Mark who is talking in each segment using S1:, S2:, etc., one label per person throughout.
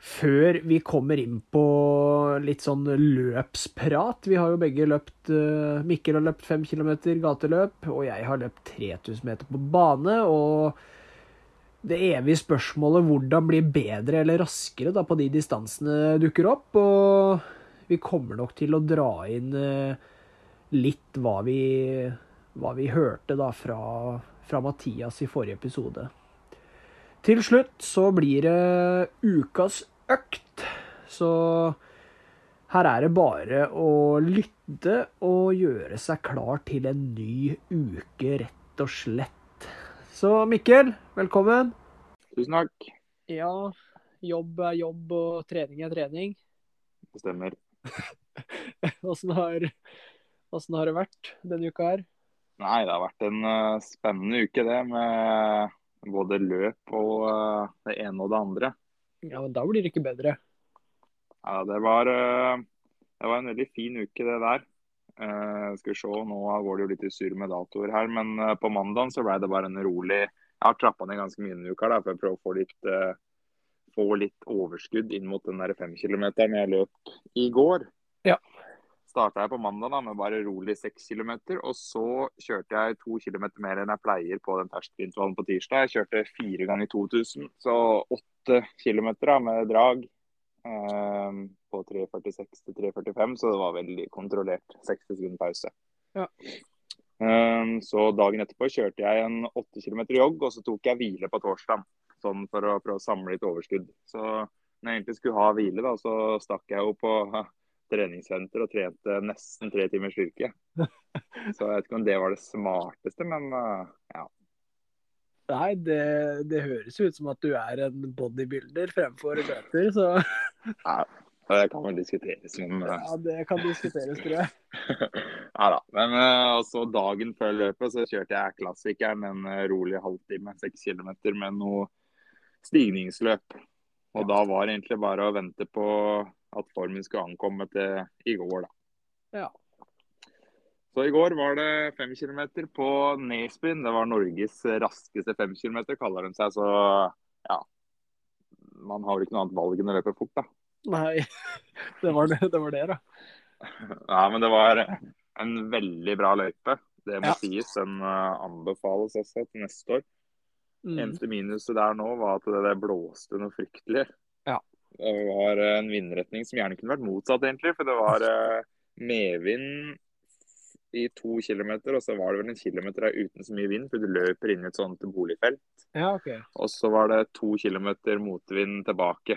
S1: Før vi kommer inn på litt sånn løpsprat. Vi har jo begge løpt eh, Mikkel har løpt fem kilometer gateløp, og jeg har løpt 3000 meter på bane. Og det evige spørsmålet hvordan bli bedre eller raskere da, på de distansene dukker opp. og vi kommer nok til å dra inn eh, litt hva vi, hva vi hørte da fra, fra Mathias i forrige episode. Til slutt så blir det ukas økt. Så her er det bare å lytte og gjøre seg klar til en ny uke, rett og slett. Så Mikkel, velkommen.
S2: Tusen takk.
S1: Ja, jobb er jobb, og trening er trening.
S2: Det stemmer.
S1: Åssen har, hvordan har det vært denne uka her?
S2: Nei, det har vært en eh, spennende uke, det. Med både løp og eh, det ene og det andre.
S1: Ja, men da blir det ikke bedre.
S2: Ja, det var, eh, det var en veldig fin uke, det der. Eh, skal vi se, nå går det jo litt i surr med datoer her, men eh, på mandagen så ble det bare en rolig Jeg har trappa ned ganske mye denne uka da, for å prøve å få litt, eh, få litt overskudd inn mot den der femkilometeren jeg løp i går.
S1: Ja.
S2: Starta jeg på mandag da, med bare rolig seks kilometer, og så kjørte jeg to kilometer mer enn jeg pleier på den terskelintervallen på tirsdag. Jeg kjørte fire ganger 2000, så åtte kilometer da, med drag. eh, på 3.46 til 3.45, så det var veldig kontrollert. 60 sekunder pause.
S1: Ja.
S2: Um, så dagen etterpå kjørte jeg en 8 km jogg, og så tok jeg hvile på torsdag. Sånn for å prøve å samle litt overskudd. Så når jeg egentlig skulle ha hvile, da, så stakk jeg jo på eh, treningssenter og trente nesten tre timers styrke. Så jeg vet ikke om det var det smarteste, men eh, ja.
S1: Nei, det, det høres ut som at du er en bodybuilder fremfor løper, så
S2: Det kan vel diskuteres, men eh,
S1: ja, det kan diskuteres, tror jeg.
S2: Nei da. Men eh, altså, dagen før løpet så kjørte jeg klassikeren en eh, rolig halvtime, seks kilometer, med noe stigningsløp. Og da var det egentlig bare å vente på at formen skulle ankomme til i går, da.
S1: Ja.
S2: Så i går var det fem kilometer på Nesbyen. Det var Norges raskeste fem kilometer, kaller de seg. Så ja. Man har vel ikke noe annet valg enn å løpe fort, da.
S1: Nei, det var det, det, var det da.
S2: Nei, men det var en veldig bra løype. Det må
S1: Ja.
S2: sies. Den eh, anbefales også til neste år.
S1: Mm.
S2: Eneste minuset der nå var at det der blåste noe fryktelig.
S1: Ja.
S2: Det var eh, en vindretning som gjerne kunne vært motsatt, egentlig. For det var eh, medvind i to kilometer, og så var det vel en kilometer der uten så mye vind, for du løper inn i et sånt boligfelt.
S1: Ja, OK.
S2: Og så var det to kilometer motvind tilbake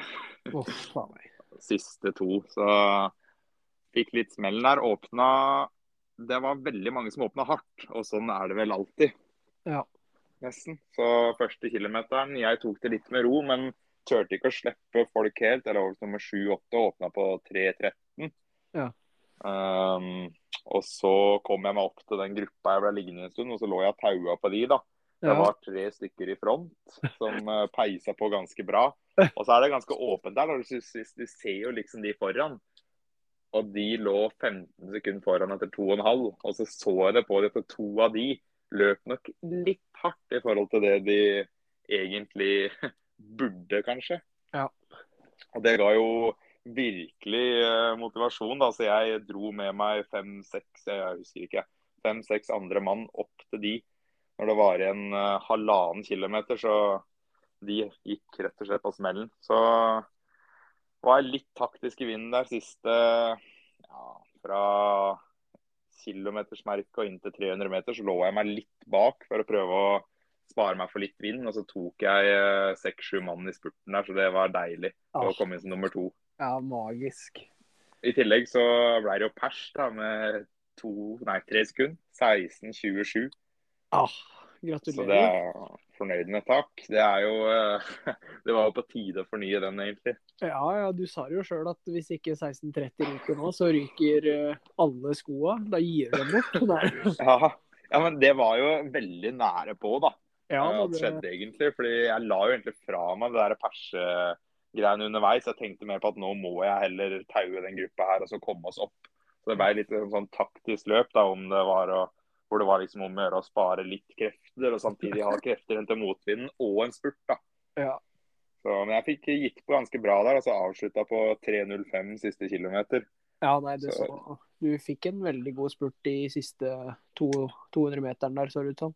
S1: Å, faen meg.
S2: siste to. Så fikk litt smell der. Åpna Det var veldig mange som åpna hardt, og sånn er det vel alltid.
S1: Ja.
S2: Nesten. Så første kilometeren, jeg tok det litt med ro, men turte ikke å slippe folk helt. Jeg lå vel nummer 7-8 og åpna på 3.13.
S1: Ja.
S2: Ehm, og så kom jeg meg opp til den gruppa jeg ble liggende en stund, og så lå jeg og taua på de, da. Det
S1: Ja.
S2: var tre stykker i front som eh, peisa på ganske bra. Og så er det ganske åpent der. da. Du, synes- du ser jo liksom de foran. Og de lå 15 sekunder foran etter to og en halv. Og så så jeg det på dem, for to av de løp nok litt hardt i forhold til det de egentlig burde, kanskje.
S1: Ja.
S2: Og det ga jo virkelig eh, motivasjon, da. Så jeg dro med meg fem-seks, jeg husker ikke, fem-seks andre mann opp til de. Når det var igjen eh, halvannen kilometer, så de gikk rett og slett på smellen. Så var jeg litt taktisk i vinden der siste ja, fra kilometersmerket og inn til 300 meter, så lå jeg meg litt bak for å prøve å spare meg for litt vind. Og så tok jeg eh, seks-sju mann i spurten der, så det var deilig å
S1: Ah,
S2: komme inn som nummer to.
S1: ja, magisk.
S2: I tillegg så ble det jo pers da med to, nei, tre sekunder. 16-27.
S1: Ah,
S2: Så det
S1: Gratulerer.
S2: er fornøyd med. Takk. Det er jo eh, Det var jo på tide å fornye den, egentlig.
S1: Ja, ja, du sa det jo sjøl at hvis ikke 1630 ryker nå, så ryker eh, alle skoa. Da gir du dem bort. Det er-
S2: Ja. ja, men det var jo veldig nære på, da.
S1: Ja,
S2: eh,
S1: da,
S2: at
S1: det,
S2: skjedde egentlig, fordi jeg la jo egentlig fra meg det der persegreiene underveis. Jeg tenkte mer på at nå må jeg heller taue den gruppa her og så komme oss opp. Så det ble litt en sånn taktisk løp da, om det var å, hvor det var liksom om å gjøre å spare litt krefter og samtidig ha krefter inn til motvinden og en spurt. da.
S1: Ja.
S2: Så, men jeg fikk gitt på ganske bra der, og så avslutta på 3.05 siste kilometer.
S1: ja, nei, det så Du fikk en veldig god spurt i siste to, 200 meteren der, så det ut som.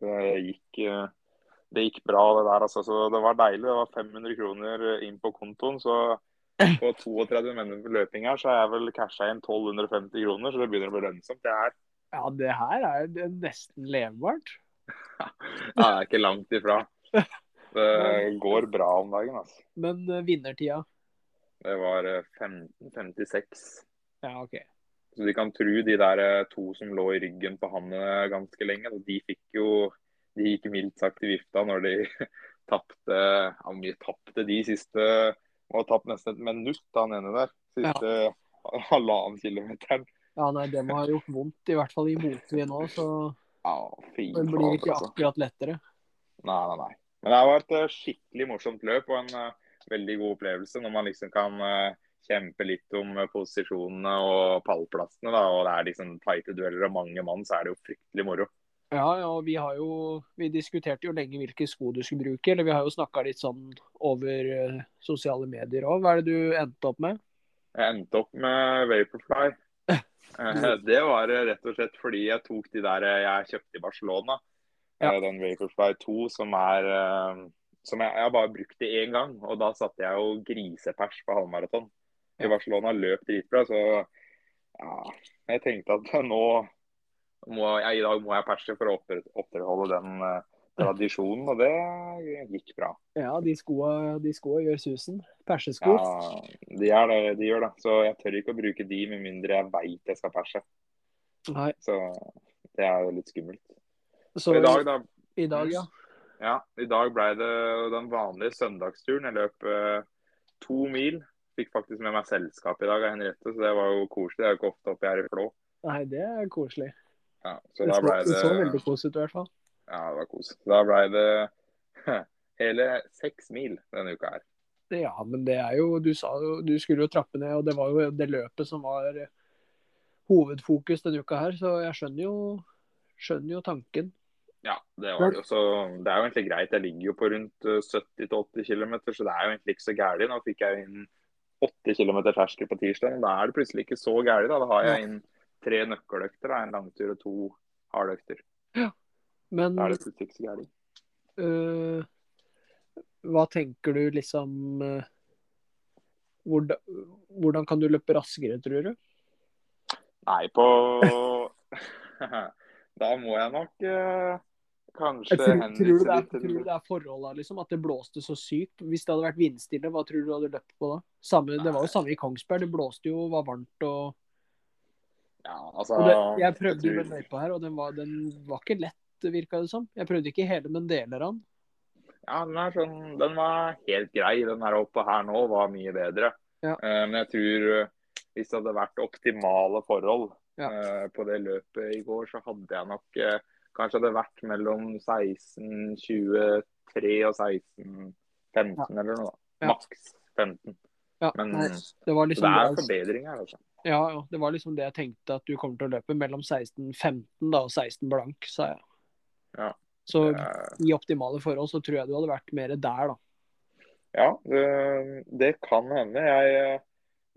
S2: Det gikk, eh, det gikk bra, det der. Altså. Så det var deilig. Det var 500 kroner inn på kontoen. Så på 32 minutter på løping her, så har jeg vel casha inn 1250 kroner. Så det begynner å bli lønnsomt. Det er,
S1: Ja, det her er jo nesten levbart.
S2: ja, det er ikke langt ifra. Det går bra om dagen, altså.
S1: Men eh, vinnertida
S2: Det var eh, 15.56.
S1: Ja, OK.
S2: Så de kan tro de der eh, to som lå i ryggen på han eh, ganske lenge. så De fikk jo De gikk mildt sagt i vifta når de tapte Ja, hvor mye tapte de siste Og har tapt nesten et minutt, han ene der. Siste halvannen kilometeren.
S1: Ja, nei, det må ha gjort vondt. I hvert fall i motvind nå, så
S2: Ja, fy
S1: det
S2: faen,
S1: blir ikke
S2: altså.
S1: akkurat lettere.
S2: Nei, nei, nei. Men det har vært et skikkelig morsomt løp og en eh, veldig god opplevelse når man liksom kan eh, kjempe litt om eh, posisjonene og pallplassene. da, Og det er liksom tighte dueller og mange mann, så er det jo fryktelig moro.
S1: Ja, ja, og vi har jo Vi diskuterte jo lenge hvilke sko du skulle bruke, eller vi har jo snakka litt sånn over eh, sosiale medier òg. Hva er det du endte opp med?
S2: Jeg endte opp med Vaporfly. Eh, Det var eh, rett og slett fordi jeg tok de der eh, jeg kjøpte i Barcelona.
S1: Ja.
S2: Eh, Den Vaporfly 2 som er eh, Som jeg, jeg bare brukte én gang. Og da satte jeg jo grisepers på halvmaraton. I
S1: Ja.
S2: Barcelona løp dritbra, så ja, jeg tenkte at nå må jeg, I dag må jeg perse for å opprett- opprettholde den eh, tradisjonen, og det gikk bra.
S1: Ja, de skoa, de skoa gjør susen. Persesko.
S2: Ja, de, er det, de gjør det. Så jeg tør ikke å bruke de med mindre jeg veit jeg skal perse.
S1: Nei,
S2: Så det er jo litt skummelt.
S1: så
S2: Så I dag, da,
S1: i dag, ja.
S2: ja, i dag ble det den vanlige søndagsturen. Jeg løp eh, to mil. Fikk faktisk med meg selskap i dag av Henriette, så det var jo koselig. Det er jo ikke ofte oppi her i Flå.
S1: Nei, det er koselig.
S2: Ja, så
S1: Det
S2: da
S1: så,
S2: ble
S1: det
S2: det
S1: så veldig kos ut i hvert fall.
S2: Ja, det var kos. Da ble det hele seks mil denne uka her.
S1: Ja, men det er jo Du sa jo du skulle jo trappe ned, og det var jo det løpet som var eh, hovedfokus denne uka her, så jeg skjønner jo, skjønner jo tanken.
S2: Ja, det var det jo. Så det er jo egentlig greit. Jeg ligger jo på rundt eh, 70-80 km, så det er jo egentlig ikke så gærent. Nå fikk jeg jo inn 8 km terskel på tirsdag, men da er det plutselig ikke så gærent. Da. da har jeg inn tre nøkkeløkter, da. en langtur og to hardøkter.
S1: Men
S2: Da er det plutselig ikke så gærent.
S1: eh, hva tenker du liksom eh, hvordan, hvordan kan du løpe raskere, tror du?
S2: Nei, på Da må jeg nok eh, kanskje
S1: Jeg Tror, tror, du det
S2: henvise
S1: er,
S2: litt
S1: tror du
S2: til
S1: det er forholda, liksom? At det blåste så sykt? Hvis det hadde vært vindstille, hva tror du du hadde løpt på da? Samme, det var jo samme i Kongsberg. Det blåste jo, var varmt og,
S2: Ja, altså
S1: og det, Jeg prøvde jo
S2: tror-
S1: den løypa her, og den var, den var ikke lett, virka det som. Jeg prøvde ikke hele, men deler av den.
S2: Ja, den, er sånn, den var helt grei. Den her oppe her nå var mye bedre.
S1: Ja.
S2: Eh, men jeg tror eh, hvis det hadde vært optimale forhold
S1: Ja.
S2: eh, på det løpet i går, så hadde jeg nok eh, kanskje hadde vært mellom 16,23 og 16,15 eller noe.
S1: Ja.
S2: Maks 15.
S1: Ja,
S2: Men-
S1: nei, det var
S2: Så
S1: liksom
S2: det er
S1: det jeg-
S2: forbedring her, altså.
S1: ja, ja, det var liksom det jeg tenkte, at du kommer til å løpe mellom 16-15 da, og 16 blank, sa jeg.
S2: Ja.
S1: Så
S2: Eh,
S1: i optimale forhold så tror jeg du hadde vært mer der, da.
S2: Ja, det, det kan hende. Jeg, eh,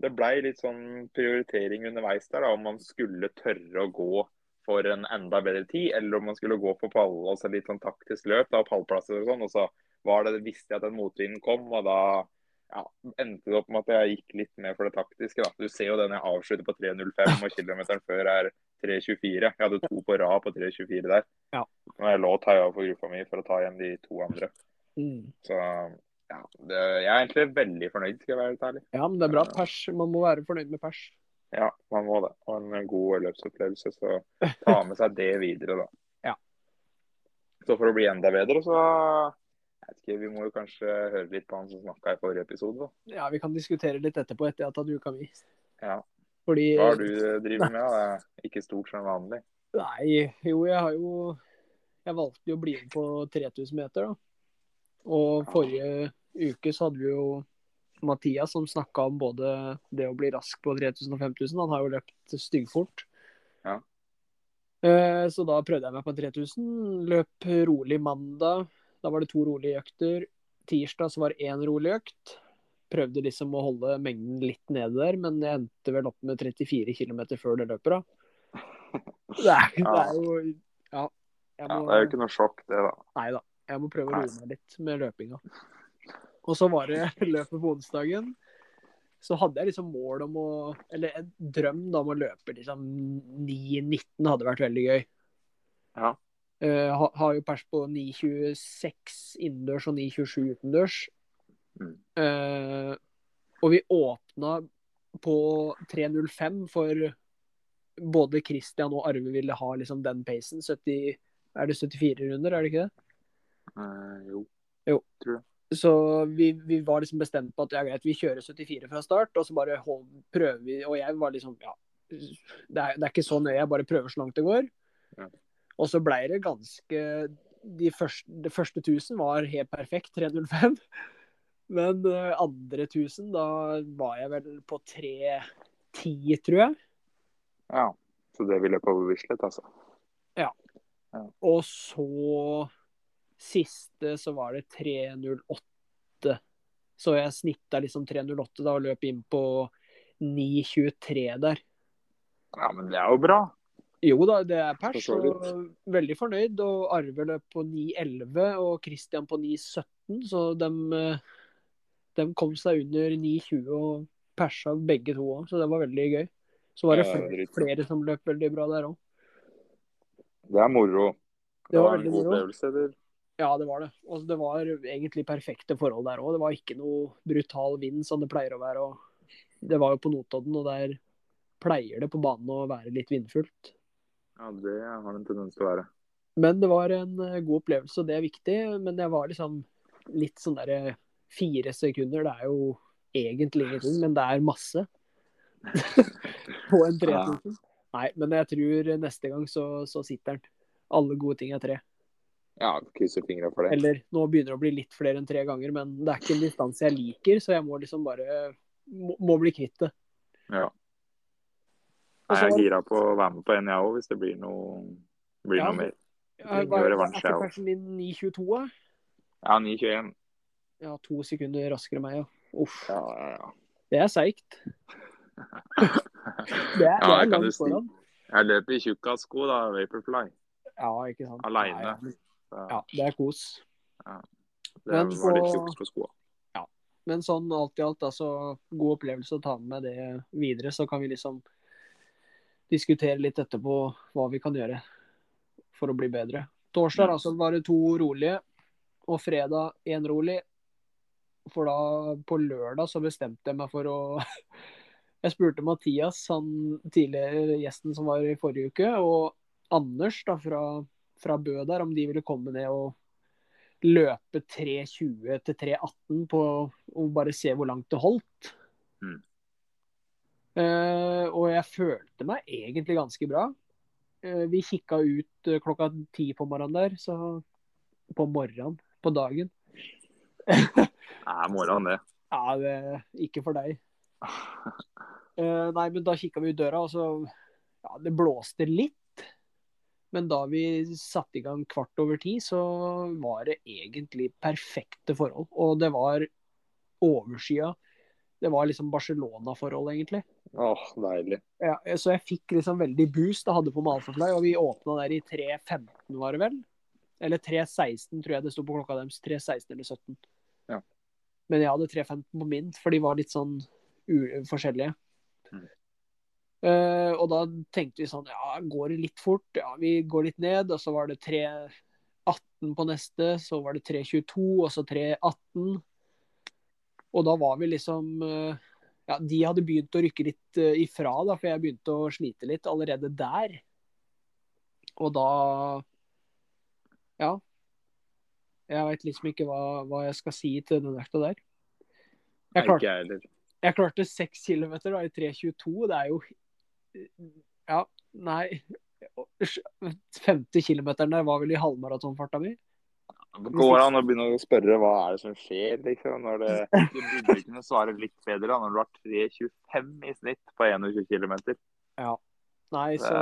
S2: det blei litt sånn prioritering underveis der, da, om man skulle tørre å gå for en enda bedre tid, eller om man skulle gå for pall, altså litt sånn taktisk løp, da, pallplasser og sånn. Og så var det, visste jeg at den motvinden kom, og da ja, endte det opp med at jeg gikk litt mer for det taktiske. Da. Du ser jo den jeg avslutter på 3.05, og kilometeren før er 3.24. Jeg hadde to på rad på 3.24 der.
S1: Ja.
S2: Og jeg lå og taua for gruppa mi for å ta igjen de to andre. Så ja, det, jeg er egentlig veldig fornøyd, skal jeg være helt ærlig.
S1: Ja, men det er bra pers. Man må være fornøyd med pers.
S2: Ja, man må det. Og en god løpsopplevelse, så ta med seg det videre, da.
S1: Ja.
S2: Så for å bli enda bedre, så jeg vet ikke, Vi må jo kanskje høre litt på han som snakka i forrige episode. da.
S1: Ja, vi kan diskutere litt etterpå, etter at jeg har tatt uka mi.
S2: Ja.
S1: Fordi
S2: Hva er det du driver med? da? Det er Ikke stort som vanlig.
S1: Nei, jo, jeg har jo Jeg valgte jo å bli med på 3000 meter, da. Og forrige uke så hadde vi jo Mathias som snakka om både det å bli rask på 3000 og 5000. Han har jo løpt styggfort.
S2: Ja.
S1: Eh, Så da prøvde jeg meg på 3000. Løp rolig mandag. Da var det to rolige økter. Tirsdag så var det én rolig økt. Prøvde liksom å holde mengden litt nede der, men jeg endte vel opp med 34 km før det løpet, da. Det er, det er jo Ja. Jeg
S2: Ja,
S1: må,
S2: Det er jo ikke noe sjokk, det, da.
S1: Nei da. Jeg må prøve å
S2: Nei.
S1: roe meg litt med løpinga. Og så var det løpet på onsdagen. Så hadde jeg liksom mål om å Eller en drøm da om å løpe liksom 9,19 hadde vært veldig gøy.
S2: Ja.
S1: Eh, ha, har jo pers på 9,26 innendørs og 9,27 utendørs.
S2: Mm.
S1: Eh, og vi åpna på 3.05 for både Christian og Arve ville ha liksom den pacen. 70, er det 74 runder, er det ikke det?
S2: Eh, jo.
S1: Så vi, vi var liksom bestemt på at det er greit, vi kjører 74 fra start, og så bare hold, prøver vi. Og jeg var liksom Ja, det er, det er ikke så nøye, jeg bare prøver så langt det går.
S2: Ja.
S1: Og så blei det ganske de første, Det første 1000 var helt perfekt, 305. Men eh, andre 1000, da var jeg vel på 310, tror jeg.
S2: Ja. Så det vil jeg på bevissthet, altså.
S1: Og så siste så var det 3.08. Så jeg snitta liksom 3.08 da og løp inn på 9.23 der.
S2: Ja, men det er jo bra.
S1: Jo da, det er pers.
S2: For så vidt.
S1: Og veldig fornøyd. Og Arve løp på 9.11 og Christian på 9.17, så de, kom seg under 9.20 og persa begge to òg, så det var veldig gøy. Så var det
S2: Ja,
S1: flere,
S2: dritbra.
S1: flere som løp veldig bra der òg.
S2: Det er moro.
S1: Det var
S2: en
S1: veldig
S2: god
S1: moro.
S2: opplevelse, eller?
S1: Ja, det var det. Og det var egentlig perfekte forhold der òg. Det var ikke noe brutal vind som det pleier å være. Og det var jo på Notodden, og der pleier det på banen å være litt vindfullt.
S2: Ja, det har det en tendens til å være.
S1: Men det var en eh, god opplevelse, og det er viktig. Men jeg var liksom litt sånn derre Fire sekunder, det er jo egentlig ingenting, men det er masse. på en 3000. Nei, men jeg tror neste gang så, så sitter den. Alle gode ting er tre.
S2: Ja, krysser fingra for det.
S1: Eller nå begynner det å bli litt flere enn tre ganger, men det er ikke en distanse jeg liker, så jeg må liksom bare må, må bli kvitt det.
S2: Ja.
S1: Og
S2: Nei,
S1: så
S2: jeg
S1: var
S2: er
S1: det-
S2: gira på å være med på en, jeg òg, hvis det blir noe, blir
S1: Ja,
S2: noe mer.
S1: Er
S2: trenger jo revansj, jeg
S1: ikke
S2: også.
S1: persen din 9.22? da?
S2: Ja, 9.21.
S1: Ja, to sekunder raskere enn meg, ja. Uff.
S2: Ja, ja, ja.
S1: Det er seigt. Det er,
S2: Ja,
S1: det
S2: jeg
S1: er
S2: kan jo
S1: langt
S2: si-
S1: foran.
S2: Jeg løper i tjukkasko, da. Vaporfly.
S1: Ja, ikke sant.
S2: Aleine.
S1: Nei,
S2: Så
S1: Ja, det er kos.
S2: Det var
S1: Men så-
S2: litt tjukt på skoa.
S1: Men sånn alt i alt, altså. God opplevelse å ta med meg det videre. Så kan vi liksom diskutere litt etterpå hva vi kan gjøre for å bli bedre. Torsdag
S2: Mm.
S1: altså var det to rolige, og fredag én rolig. For da, på lørdag, så bestemte jeg meg for å Jeg spurte Mathias, han tidligere gjesten som var i forrige uke, og Anders da fra, fra Bø der, om de ville komme ned og løpe 3.20 til 3.18 på og bare se hvor langt det holdt.
S2: Mm.
S1: Eh, og jeg følte meg egentlig ganske bra. Eh, vi kikka ut eh, klokka ti på morgenen der, så På morgenen, på dagen.
S2: Nei, morgenen, det.
S1: Ja, det, ikke for deg. Eh, nei, men da kikka vi ut døra, og så Ja, det blåste litt. Men da vi satte i gang kvart over ti, så var det egentlig perfekte forhold. Og det var overskya. Det var liksom Barcelona-forhold, egentlig.
S2: Åh, deilig.
S1: Ja, så jeg fikk liksom veldig boost. Jeg hadde på med Alphafly, og vi åpna der i 3.15, var det vel? Eller 3.16, tror jeg det sto på klokka deres. 3.16 eller 17.
S2: Ja.
S1: Men jeg hadde 3.15 på min, for de var litt sånn u forskjellige.
S2: Mm.
S1: Eh, og da tenkte vi sånn Ja, går det litt fort? Ja, vi går litt ned. Og så var det 3.18 på neste, så var det 3.22, og så 3.18. Og da var vi liksom eh, ja, de hadde begynt å rykke litt eh, ifra, da, for jeg begynte å slite litt allerede der. Og da Ja, Jeg veit liksom ikke hva, hva jeg skal si til den økta der.
S2: Nei,
S1: Jeg klarte,
S2: ikke jeg heller.
S1: jeg klarte 6 km da, i 3.22. Det er jo Ja, nei 50 km der var vel i halvmaratonfarta mi.
S2: Går det an å begynne å spørre hva er det som skjer, liksom? Når det, du burde kunne svare litt bedre da, når du har 3,25 i snitt på 21 km.
S1: Nei, så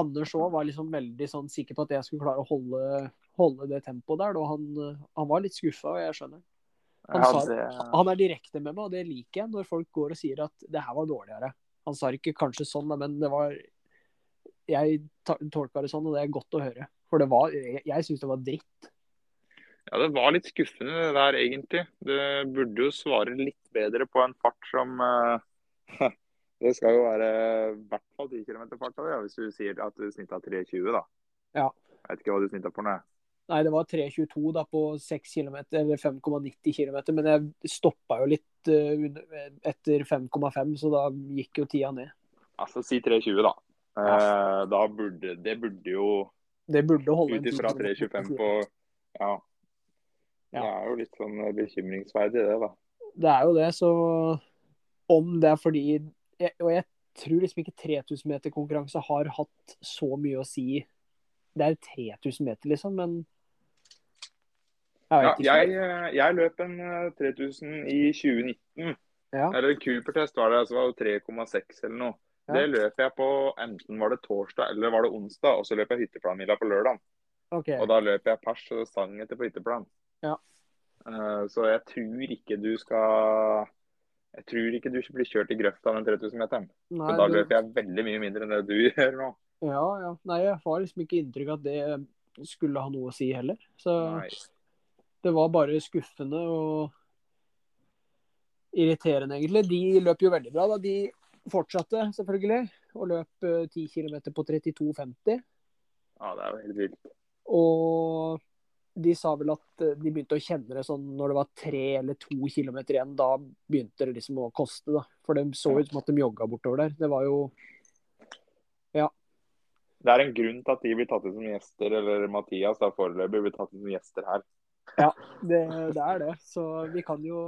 S1: Anders òg var liksom veldig sånn sikker på at jeg skulle klare å holde, holde det tempoet der. Og han, han var litt skuffa, og jeg skjønner. han
S2: Ja,
S1: sa-
S2: det,
S1: Han er direkte med meg, og det liker jeg når folk går og sier at det her var dårligere. Han sa ikke kanskje sånn, da, men det var Jeg ta- tolka det sånn, og det er godt å høre. For det var Jeg, jeg syns det var dritt.
S2: ja, det var litt skuffende det der, egentlig. Du burde jo svare litt bedre på en fart som eh, Det skal jo være i hvert fall 10 km fart over, ja, hvis du sier at du snitta 3,20, da.
S1: Ja.
S2: Jeg vet ikke hva du snitta for noe.
S1: Nei, det var 3.22 da på 6 km, eller 5,90 km, men jeg stoppa jo litt eh, under- etter 5,5, så da gikk jo tida ned.
S2: Altså si 3,20, da. Eh, da burde Det burde jo
S1: Det burde holde
S2: ut ifra 3,25 på Ja.
S1: Ja.
S2: Det er jo litt sånn bekymringsverdig, det, da.
S1: Det er jo det, så om det er fordi jeg, Og jeg tror liksom ikke 3000 meter konkurranse har hatt så mye å si. Det er 3000 meter, liksom, men Jeg
S2: Ja,
S1: vet ikke.
S2: jeg, eh, jeg løp en eh, 3000 i 2019.
S1: Ja.
S2: Eller Cooper-test var det, så var det 3,6 eller noe.
S1: Ja.
S2: Det løp jeg på enten var det torsdag eller var det onsdag, og så løp jeg hytteplanmila på lørdag.
S1: Ok.
S2: Og da løp jeg pers og sang etter på hytteplan.
S1: Ja.
S2: Eh, Så jeg tror ikke du skal Jeg tror ikke du blir kjørt i grøfta den 3000-meteren.
S1: Nei,
S2: For da
S1: det-
S2: løper jeg veldig mye mindre enn det du gjør nå.
S1: Ja, ja. Nei, jeg har liksom ikke inntrykk av at det skulle ha noe å si heller. Så
S2: Nei.
S1: det var bare skuffende og irriterende, egentlig. De løp jo veldig bra, da. De fortsatte selvfølgelig og løp eh, 10 km på 32,50.
S2: Ja, det er jo helt vilt.
S1: Og de sa vel at eh, de begynte å kjenne det sånn når det var tre eller to kilometer igjen. Da begynte det liksom å koste, da. For det så ut som at de jogga bortover der. Det var jo
S2: Det er en grunn til at de blir tatt ut som gjester, eller Mathias da foreløpig blir tatt ut som gjester her.
S1: Det, det er det. Så vi kan jo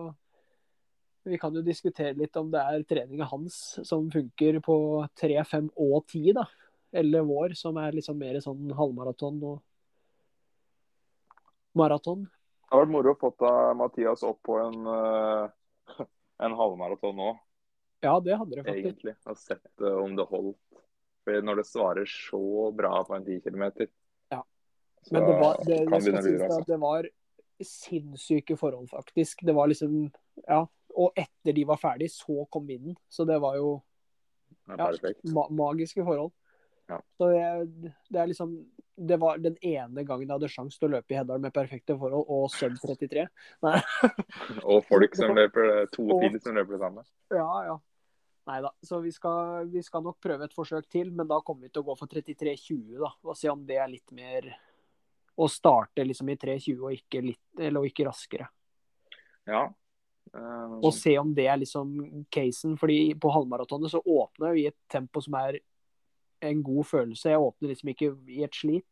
S1: vi kan jo diskutere litt om det er treninga hans som funker på 3, 5 og 10, da. Eller vår, som er liksom mer sånn halvmaraton og maraton.
S2: Det har vært moro å få ta Mathias opp på en, eh, en halvmaraton nå,
S1: Ja, det hadde det faktisk.
S2: egentlig. Og sett eh, om det holdt. For når det svarer så bra på en 10 km,
S1: Ja.
S2: så
S1: Men det var, det,
S2: kan
S1: jeg skal
S2: begynne å
S1: sies
S2: lure.
S1: da,
S2: Altså.
S1: det var sinnssyke forhold, faktisk. Det var liksom Ja. Og etter de var ferdig, så kom vinden. Så det var jo
S2: Det er
S1: Ja.
S2: perfekt.
S1: ma magiske forhold.
S2: Ja.
S1: Så jeg, det er liksom Det var den ene gangen jeg hadde sjanse til å løpe i Heddal med perfekte forhold og sub 33.
S2: Og folk som løper det, to
S1: Mm. Og-
S2: til som løper det samme.
S1: Ja, ja. Nei da. Så vi skal, vi skal nok prøve et forsøk til, men da kommer vi til å gå for 33,20, da. Og se om det er litt mer Å starte liksom i 3,20 og ikke litt Eller og ikke raskere.
S2: Ja. Eh,
S1: Og se om det er liksom casen. fordi på halvmaratonet så åpner jeg jo i et tempo som er en god følelse. Jeg åpner liksom ikke i et slit.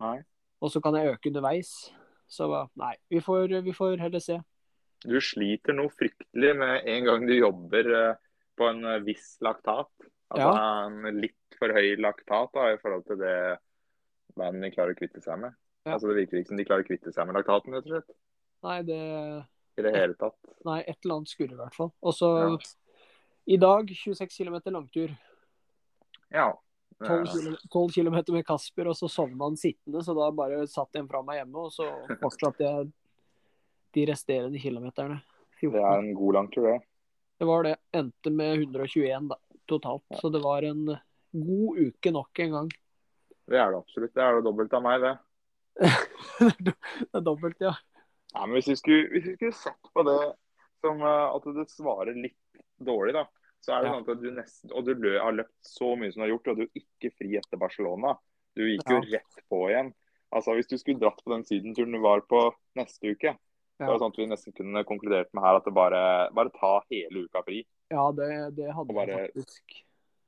S2: nei.
S1: Og så kan jeg øke underveis. Så nei, vi får, vi får heller se.
S2: Du sliter noe fryktelig med en gang du jobber eh, på en eh, viss laktat. Altså en litt for høy laktat da, i forhold til det bandet klarer å kvitte seg med.
S1: Ja.
S2: Altså Det virker ikke som de klarer å kvitte seg med laktaten rett og slett.
S1: Nei, det,
S2: i det hele tatt.
S1: nei et eller annet skurrer i hvert fall. Og så
S2: Ja.
S1: i dag 26 km langtur.
S2: Ja.
S1: 12
S2: Eh,
S1: kilo- 12 km med Kasper, og så sovna han sittende. Så da bare satt en fra meg hjemme, og så fortsatte jeg de resterende kilometerne.
S2: Det
S1: 14.
S2: er en god langtur, det.
S1: Det var det. Endte med 121 da, totalt. Så det var en god uke nok en gang.
S2: Det er det absolutt. Det er det dobbelt av meg, det.
S1: det er dobbelt, ja.
S2: Nei, men hvis vi skulle, hvis vi skulle sett på det som eh, at det svarer litt dårlig, da. Så er det
S1: Ja.
S2: sånn at du nesten Og du lø, har løpt så mye som du har gjort, og du er ikke fri etter Barcelona. Du gikk jo rett på igjen. Altså, Hvis du skulle dratt på den sydenturen du var på neste uke, så er
S1: Ja.
S2: det sånn at vi nesten kunne konkludert med her at det bare, bare ta hele uka fri.
S1: Ja, det, det hadde
S2: Og bare-
S1: jeg faktisk.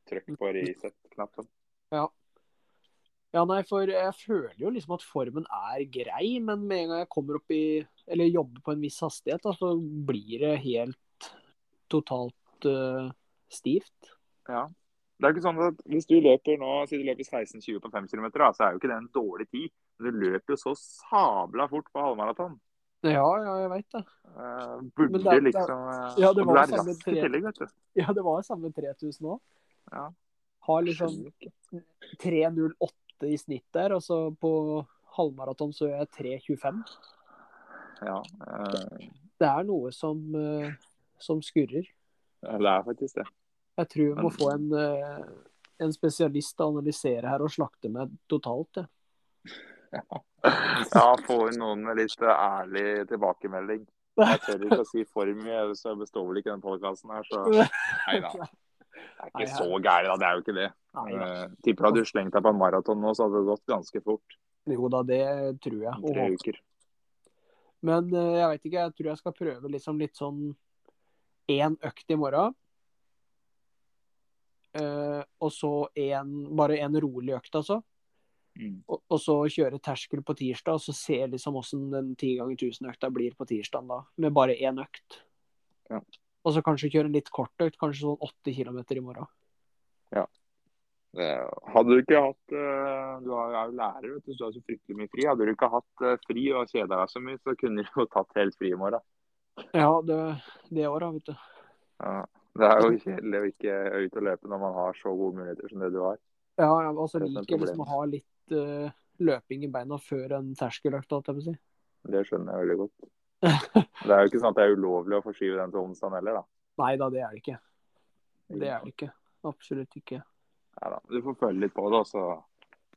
S2: Trykk på reset-knappen.
S1: Ja, nei, for jeg føler jo liksom at formen er grei, men med en gang jeg kommer opp i Eller jobber på en viss hastighet, da, så blir det helt totalt eh, stivt.
S2: Ja. Det er ikke sånn at Hvis du løper nå, si du løper 16-20 på 5 km, da, så er jo ikke det en dårlig tid. Men du løper jo så sabla fort på halvmaraton.
S1: Ja, ja, jeg veit det.
S2: Eh,
S1: Men
S2: burde
S1: det er-
S2: liksom eh,
S1: ja, det
S2: og
S1: var
S2: du
S1: det
S2: er
S1: samme
S2: rask i
S1: tre-
S2: tillegg, vet du.
S1: Ja, det var samme 3000 òg.
S2: Ja.
S1: Har liksom 3.08 i snitt der, og så på halvmaraton så gjør jeg 3.25.
S2: Ja, eh,
S1: Det er noe som, eh, som skurrer.
S2: det er faktisk det.
S1: Jeg tror vi må
S2: Men-
S1: få en, eh, en spesialist til å analysere her og slakte meg totalt. Jeg.
S2: Ja, får noen med litt eh, ærlig tilbakemelding. Jeg tør ikke å si for mye, så jeg består vel ikke den podkasten her, så Nei da. Det er
S1: Nei,
S2: ikke så gærent, da. Det er jo ikke det.
S1: Nei, da.
S2: Eh, Tipper hadde du slengt deg på en maraton nå, så hadde det gått ganske fort.
S1: Jo da, det tror jeg. og
S2: Tre
S1: håper.
S2: uker.
S1: Men eh, jeg vet ikke, jeg tror jeg skal prøve liksom litt sånn én økt i morgen. Eh, og så en, bare en rolig økt, altså.
S2: Mm.
S1: Og, og så kjøre terskel på tirsdag, og så se liksom åssen den 10 ganger 1000-økta blir på tirsdag da. Med bare én økt.
S2: Ja.
S1: Og så kanskje kjøre en litt kort økt, kanskje sånn 80 km i morgen.
S2: Eh, Hadde du ikke hatt eh, Du er jo er jo lærer, vet du, så du har så fryktelig mye fri. Hadde du ikke hatt eh, fri og kjeda deg så mye, så kunne du jo tatt helt fri i morgen.
S1: Ja, det, det året, vet du.
S2: Ja. Det er jo kjedelig å ikke ut og løpe når man har så gode muligheter som det du har.
S1: Ja, jeg altså,
S2: Det er et
S1: liker
S2: problem.
S1: liksom å ha litt eh, løping i beina før en terskeløkt, holdt jeg på å si.
S2: Det skjønner jeg veldig godt. Det er jo ikke sånn at det er ulovlig å forskyve den til onsdag heller, da.
S1: Nei da, det er det ikke. Det er det ikke. Absolutt ikke.
S2: Neida. Du får følge litt på det, og så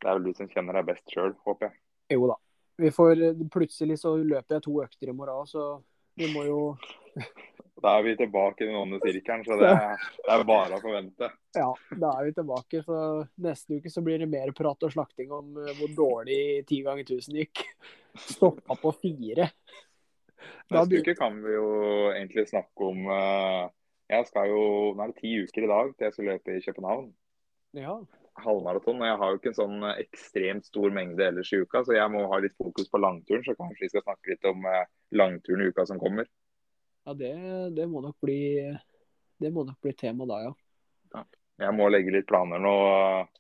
S2: Det er vel du som kjenner deg best sjøl, håper jeg.
S1: Jo da. Vi får, eh, plutselig så løper jeg to økter i morgen, så vi må jo
S2: Da er vi tilbake i den onde sirkelen, så det er, det er bare å forvente.
S1: Ja, da er vi tilbake. Så neste uke så blir det mer prat og slakting om eh, hvor dårlig 10 ganger 1000 gikk. Stoppa på fire. Da
S2: Neste uke kan vi jo egentlig snakke om eh, Jeg skal jo Nå er det ti uker i dag til jeg skal løpe i København.
S1: Ja.
S2: Halvmaraton. Og jeg har jo ikke en sånn eh, ekstremt stor mengde ellers i uka, så jeg må ha litt fokus på langturen. Så kanskje vi skal snakke litt om eh, langturen i uka som kommer.
S1: ja det, det må nok bli Det må nok bli tema da, ja.
S2: Jeg må legge litt planer nå. eh,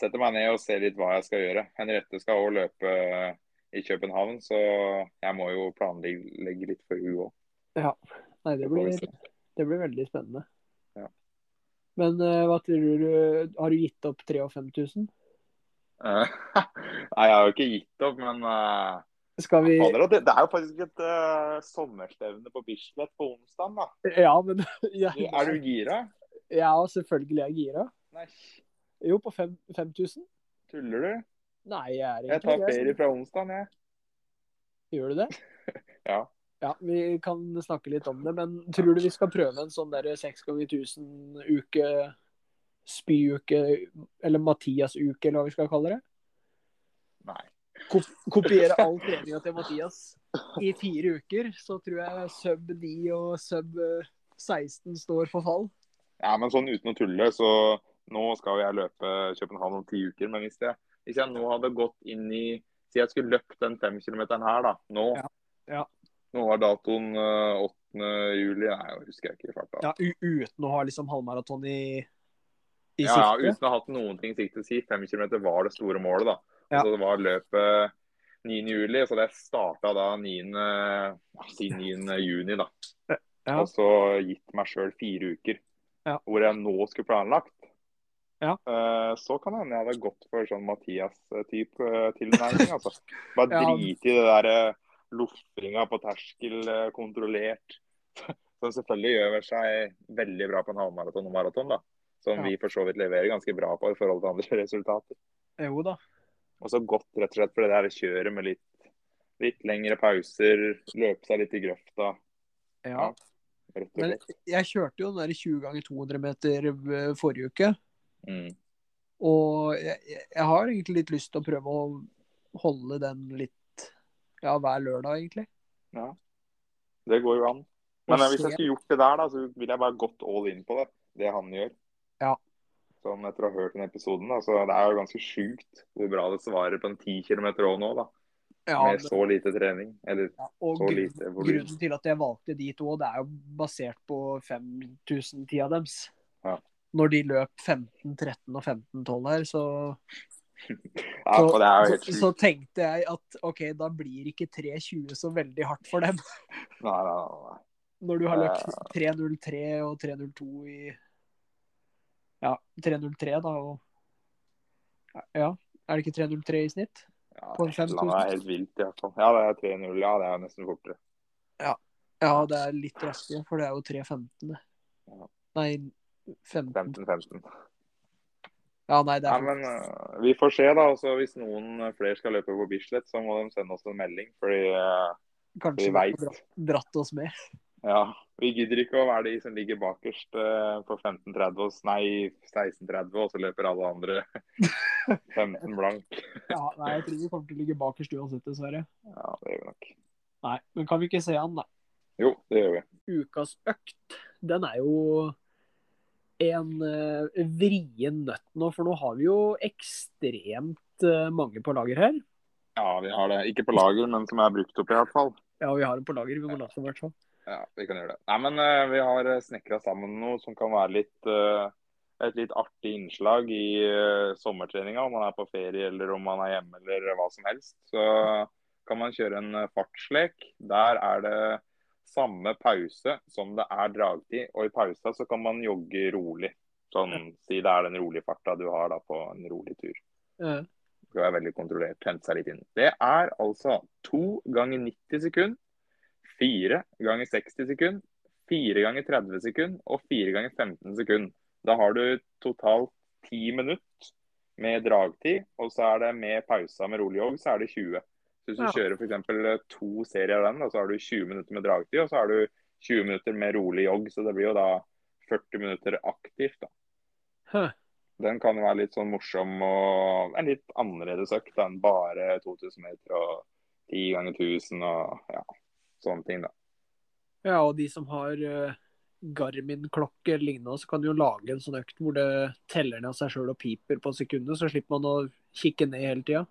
S2: Sette meg ned og se litt hva jeg skal gjøre. Henriette skal òg løpe eh, i København, så jeg må jo planlegge litt for hun òg.
S1: Nei, det
S2: Det får vi
S1: blir,
S2: se.
S1: det blir veldig spennende.
S2: Ja.
S1: Men eh, hva tror du Har du gitt opp 3000-5000?
S2: Eh, Nei, jeg har jo ikke gitt opp, men eh,
S1: Skal vi
S2: Fader, og det, det er jo faktisk et eh, sommerstevne på Bislett på onsdag. da.
S1: Ja, men ja,
S2: Du, er du gira?
S1: Ja, selvfølgelig er jeg gira.
S2: Nei,
S1: Jo, på fem- 5000?
S2: tuller du?
S1: Nei, jeg er
S2: Jeg
S1: ikke
S2: tar ferie fra onsdag, jeg.
S1: Gjør du det?
S2: Ja.
S1: Ja, Vi kan snakke litt om det, men tror du vi skal prøve en sånn derre seks ganger 1000 uke spyuke, eller Mathias-uke, eller hva vi skal kalle det?
S2: Nei.
S1: Kop kopiere all treninga til Mathias i fire uker, så tror jeg sub 9 og sub eh, 16 står for fall.
S2: Ja, men sånn uten å tulle, så nå skal jo jeg løpe København om ti uker. Men hvis jeg, hvis jeg nå hadde gått inn i Si jeg skulle løpt den femkilometeren her, da. Nå.
S1: Ja, ja.
S2: Nå var datoen eh, 8. juli. Nei, jeg husker jeg ikke i farta.
S1: Ja, u Uten å ha liksom halvmaraton i, i
S2: Ja, ja,
S1: sikte.
S2: uten å ha hatt noen ting i sikte å si. Fem kilometer var det store målet, da.
S1: Ja.
S2: Og Så det var løpet 9. juli, så det starta da 9. ja, si 9. juni, da.
S1: Ja.
S2: Og så gitt meg sjøl fire uker
S1: Ja.
S2: hvor jeg nå skulle planlagt.
S1: Ja.
S2: Eh, Så kan det hende jeg hadde gått for sånn Mathias-type eh, tilnærming. altså. Bare
S1: Ja.
S2: drite i det der eh, loffringa på terskel, eh, kontrollert. Som selvfølgelig gjør seg veldig bra på en halvmaraton og maraton, da. Som
S1: Ja.
S2: vi for så vidt leverer ganske bra på i forhold til andre resultater.
S1: Jo da.
S2: Og så godt rett og slett for det der kjøret med litt, litt lengre pauser, løpe seg litt i grøfta.
S1: Ja.
S2: Ja. Rett og
S1: Men
S2: slett.
S1: jeg kjørte jo den der 20 ganger 200 meter eh, forrige uke.
S2: Mm.
S1: Og jeg, jeg jeg har egentlig litt lyst til å prøve å holde den litt ja, hver lørdag, egentlig.
S2: Det går jo an. Men eh,
S1: Og
S2: hvis jeg
S1: se-
S2: skulle gjort det der, da, så ville jeg bare gått all in på det. Det han gjør.
S1: Ja.
S2: Sånn etter å ha hørt den episoden. Da. Så det er jo ganske sjukt hvor bra det svarer på en 10 km òg nå, da.
S1: Ja,
S2: Med
S1: det-
S2: så lite trening. Eller
S1: ja, og
S2: så
S1: grunn-
S2: lite volum.
S1: grunnen til at jeg valgte de to, det er jo basert på 5000-tida deres.
S2: Ja.
S1: Når de løp 15-13 og 15-12 her, så
S2: Ja, for det er jo helt
S1: så,
S2: sjukt.
S1: så tenkte jeg at OK, da blir ikke 3.20 så veldig hardt for dem.
S2: Nei, nei, nei, nei.
S1: Når du har løpt 3.03 og 3.02 i Ja, 3.03 da og Ja, er det ikke 3.03 i snitt?
S2: Ja,
S1: På en
S2: et
S1: 5000?
S2: eller annet er helt vilt, i hvert fall. Ja, det er 3-0. Ja, det er jo nesten fortere.
S1: Ja, det er litt raskere, for det er jo 3.15. det.
S2: Ja.
S1: Nei, 15
S2: 15-15.
S1: Ja, nei, det
S2: Ja,
S1: er
S2: men eh, vi får se, da. Også hvis noen eh, flere skal løpe på Bislett, så må de sende oss en melding. Fordi eh,
S1: kanskje
S2: vi
S1: vi
S2: veit
S1: har dratt, dratt oss med.
S2: Ja. Vi gidder ikke å være de som ligger bakerst eh, på 15.30 og s- Nei, 16.30, og så løper alle andre 15 blank.
S1: Ja, nei, jeg tror vi kommer til å ligge bakerst uansett, dessverre.
S2: Ja, det gjør vi nok.
S1: Nei, men kan vi ikke se han, da?
S2: Jo, det gjør vi.
S1: ukas økt, den er jo en eh, vrien nøtt nå. For nå har vi jo ekstremt eh, mange på lager her.
S2: Ja, vi har det. Ikke på lager, men som er brukt opp, i hvert fall.
S1: Ja, vi har en på lager. Vi må la det i hvert fall.
S2: Ja, vi kan gjøre det. Nei, men eh, vi har snekra sammen noe som kan være litt eh, et litt artig innslag i eh, sommertreninga. Om man er på ferie eller om man er hjemme eller hva som helst. Så kan man kjøre en eh, fartslek. Der er det samme pause som det er dragtid. Og i pausa så kan man jogge rolig. Sånn, Si det er den rolige farta du har da på en rolig tur.
S1: Eh,
S2: Det skal være veldig kontrollert. Hente seg litt inn. Det er altså to ganger 90 sekund, fire ganger 60 sekund, fire ganger 30 sekund og fire ganger 15 sekund. Da har du totalt ti minutter med dragtid, og så er det med pausa med rolig jogg, så er det 20. Så hvis du
S1: Ja.
S2: kjører f.eks. to serier av den, da, så har du 20 minutter med dragtid, og så har du 20 minutter med rolig jogg. Så det blir jo da 40 minutter aktivt, da.
S1: Huh.
S2: Den kan jo være litt sånn morsom og en litt annerledes økt enn bare 2000 meter og 10 ganger 1000 og ja, sånne ting, da.
S1: Ja, og de som har eh, Garmin-klokke eller lignende, så kan du jo lage en sånn økt hvor det teller ned av seg sjøl og piper på sekundet. Så slipper man å kikke ned hele tida.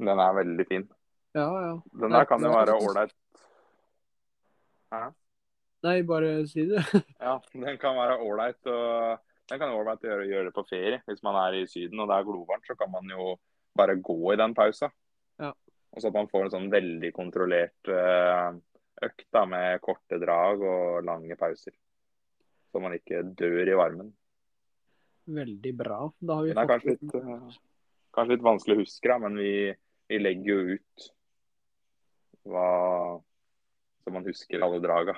S2: Den er veldig fin.
S1: Ja, ja.
S2: Den der kan jo være ålreit.
S1: Nei, bare si det.
S2: Ja, den kan være ålreit. og Den kan jo være ålreit å gjøre, gjøre på ferie. Hvis man er i Syden og det er glovarmt, så kan man jo bare gå i den pausa.
S1: Ja.
S2: Og så at man får en sånn veldig kontrollert eh, økt da, med korte drag og lange pauser. Så man ikke dør i varmen.
S1: Veldig bra. Da har vi
S2: Den er kanskje litt, eh, kanskje litt vanskelig å huske, da, men vi, vi legger jo ut hva Så man husker alle draga.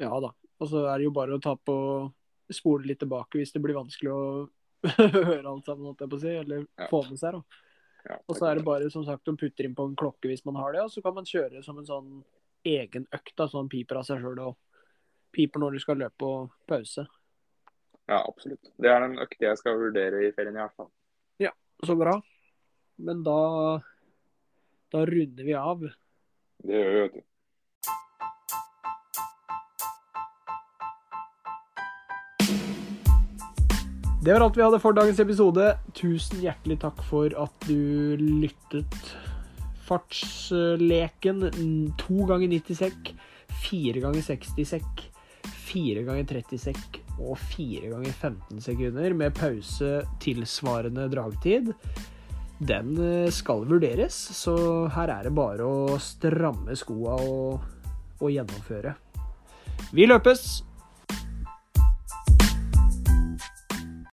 S1: Ja da. Og så er det jo bare å ta på spole litt tilbake hvis det blir vanskelig å høre alt sammen, holdt jeg på å si, eller
S2: Ja.
S1: få med seg. da.
S2: Ja,
S1: Og så er det bare som sagt å putte inn på en klokke hvis man har det, og så kan man kjøre som en sånn egen økt, da, så han piper av seg sjøl og piper når du skal løpe og pause.
S2: Ja, absolutt. Det er den økte jeg skal vurdere i ferien i hvert fall.
S1: Så bra. Men da da runder vi av.
S2: Det gjør vi, vet du.
S1: Det var alt vi hadde for dagens episode. Tusen hjertelig takk for at du lyttet. Fartsleken mm, to ganger 90 sekk, fire ganger 60 sekk, fire ganger 30 sekk og fire ganger 15 sekunder med pause tilsvarende dragtid. Den eh, skal vurderes, så her er det bare å stramme skoa og, og gjennomføre. Vi løpes!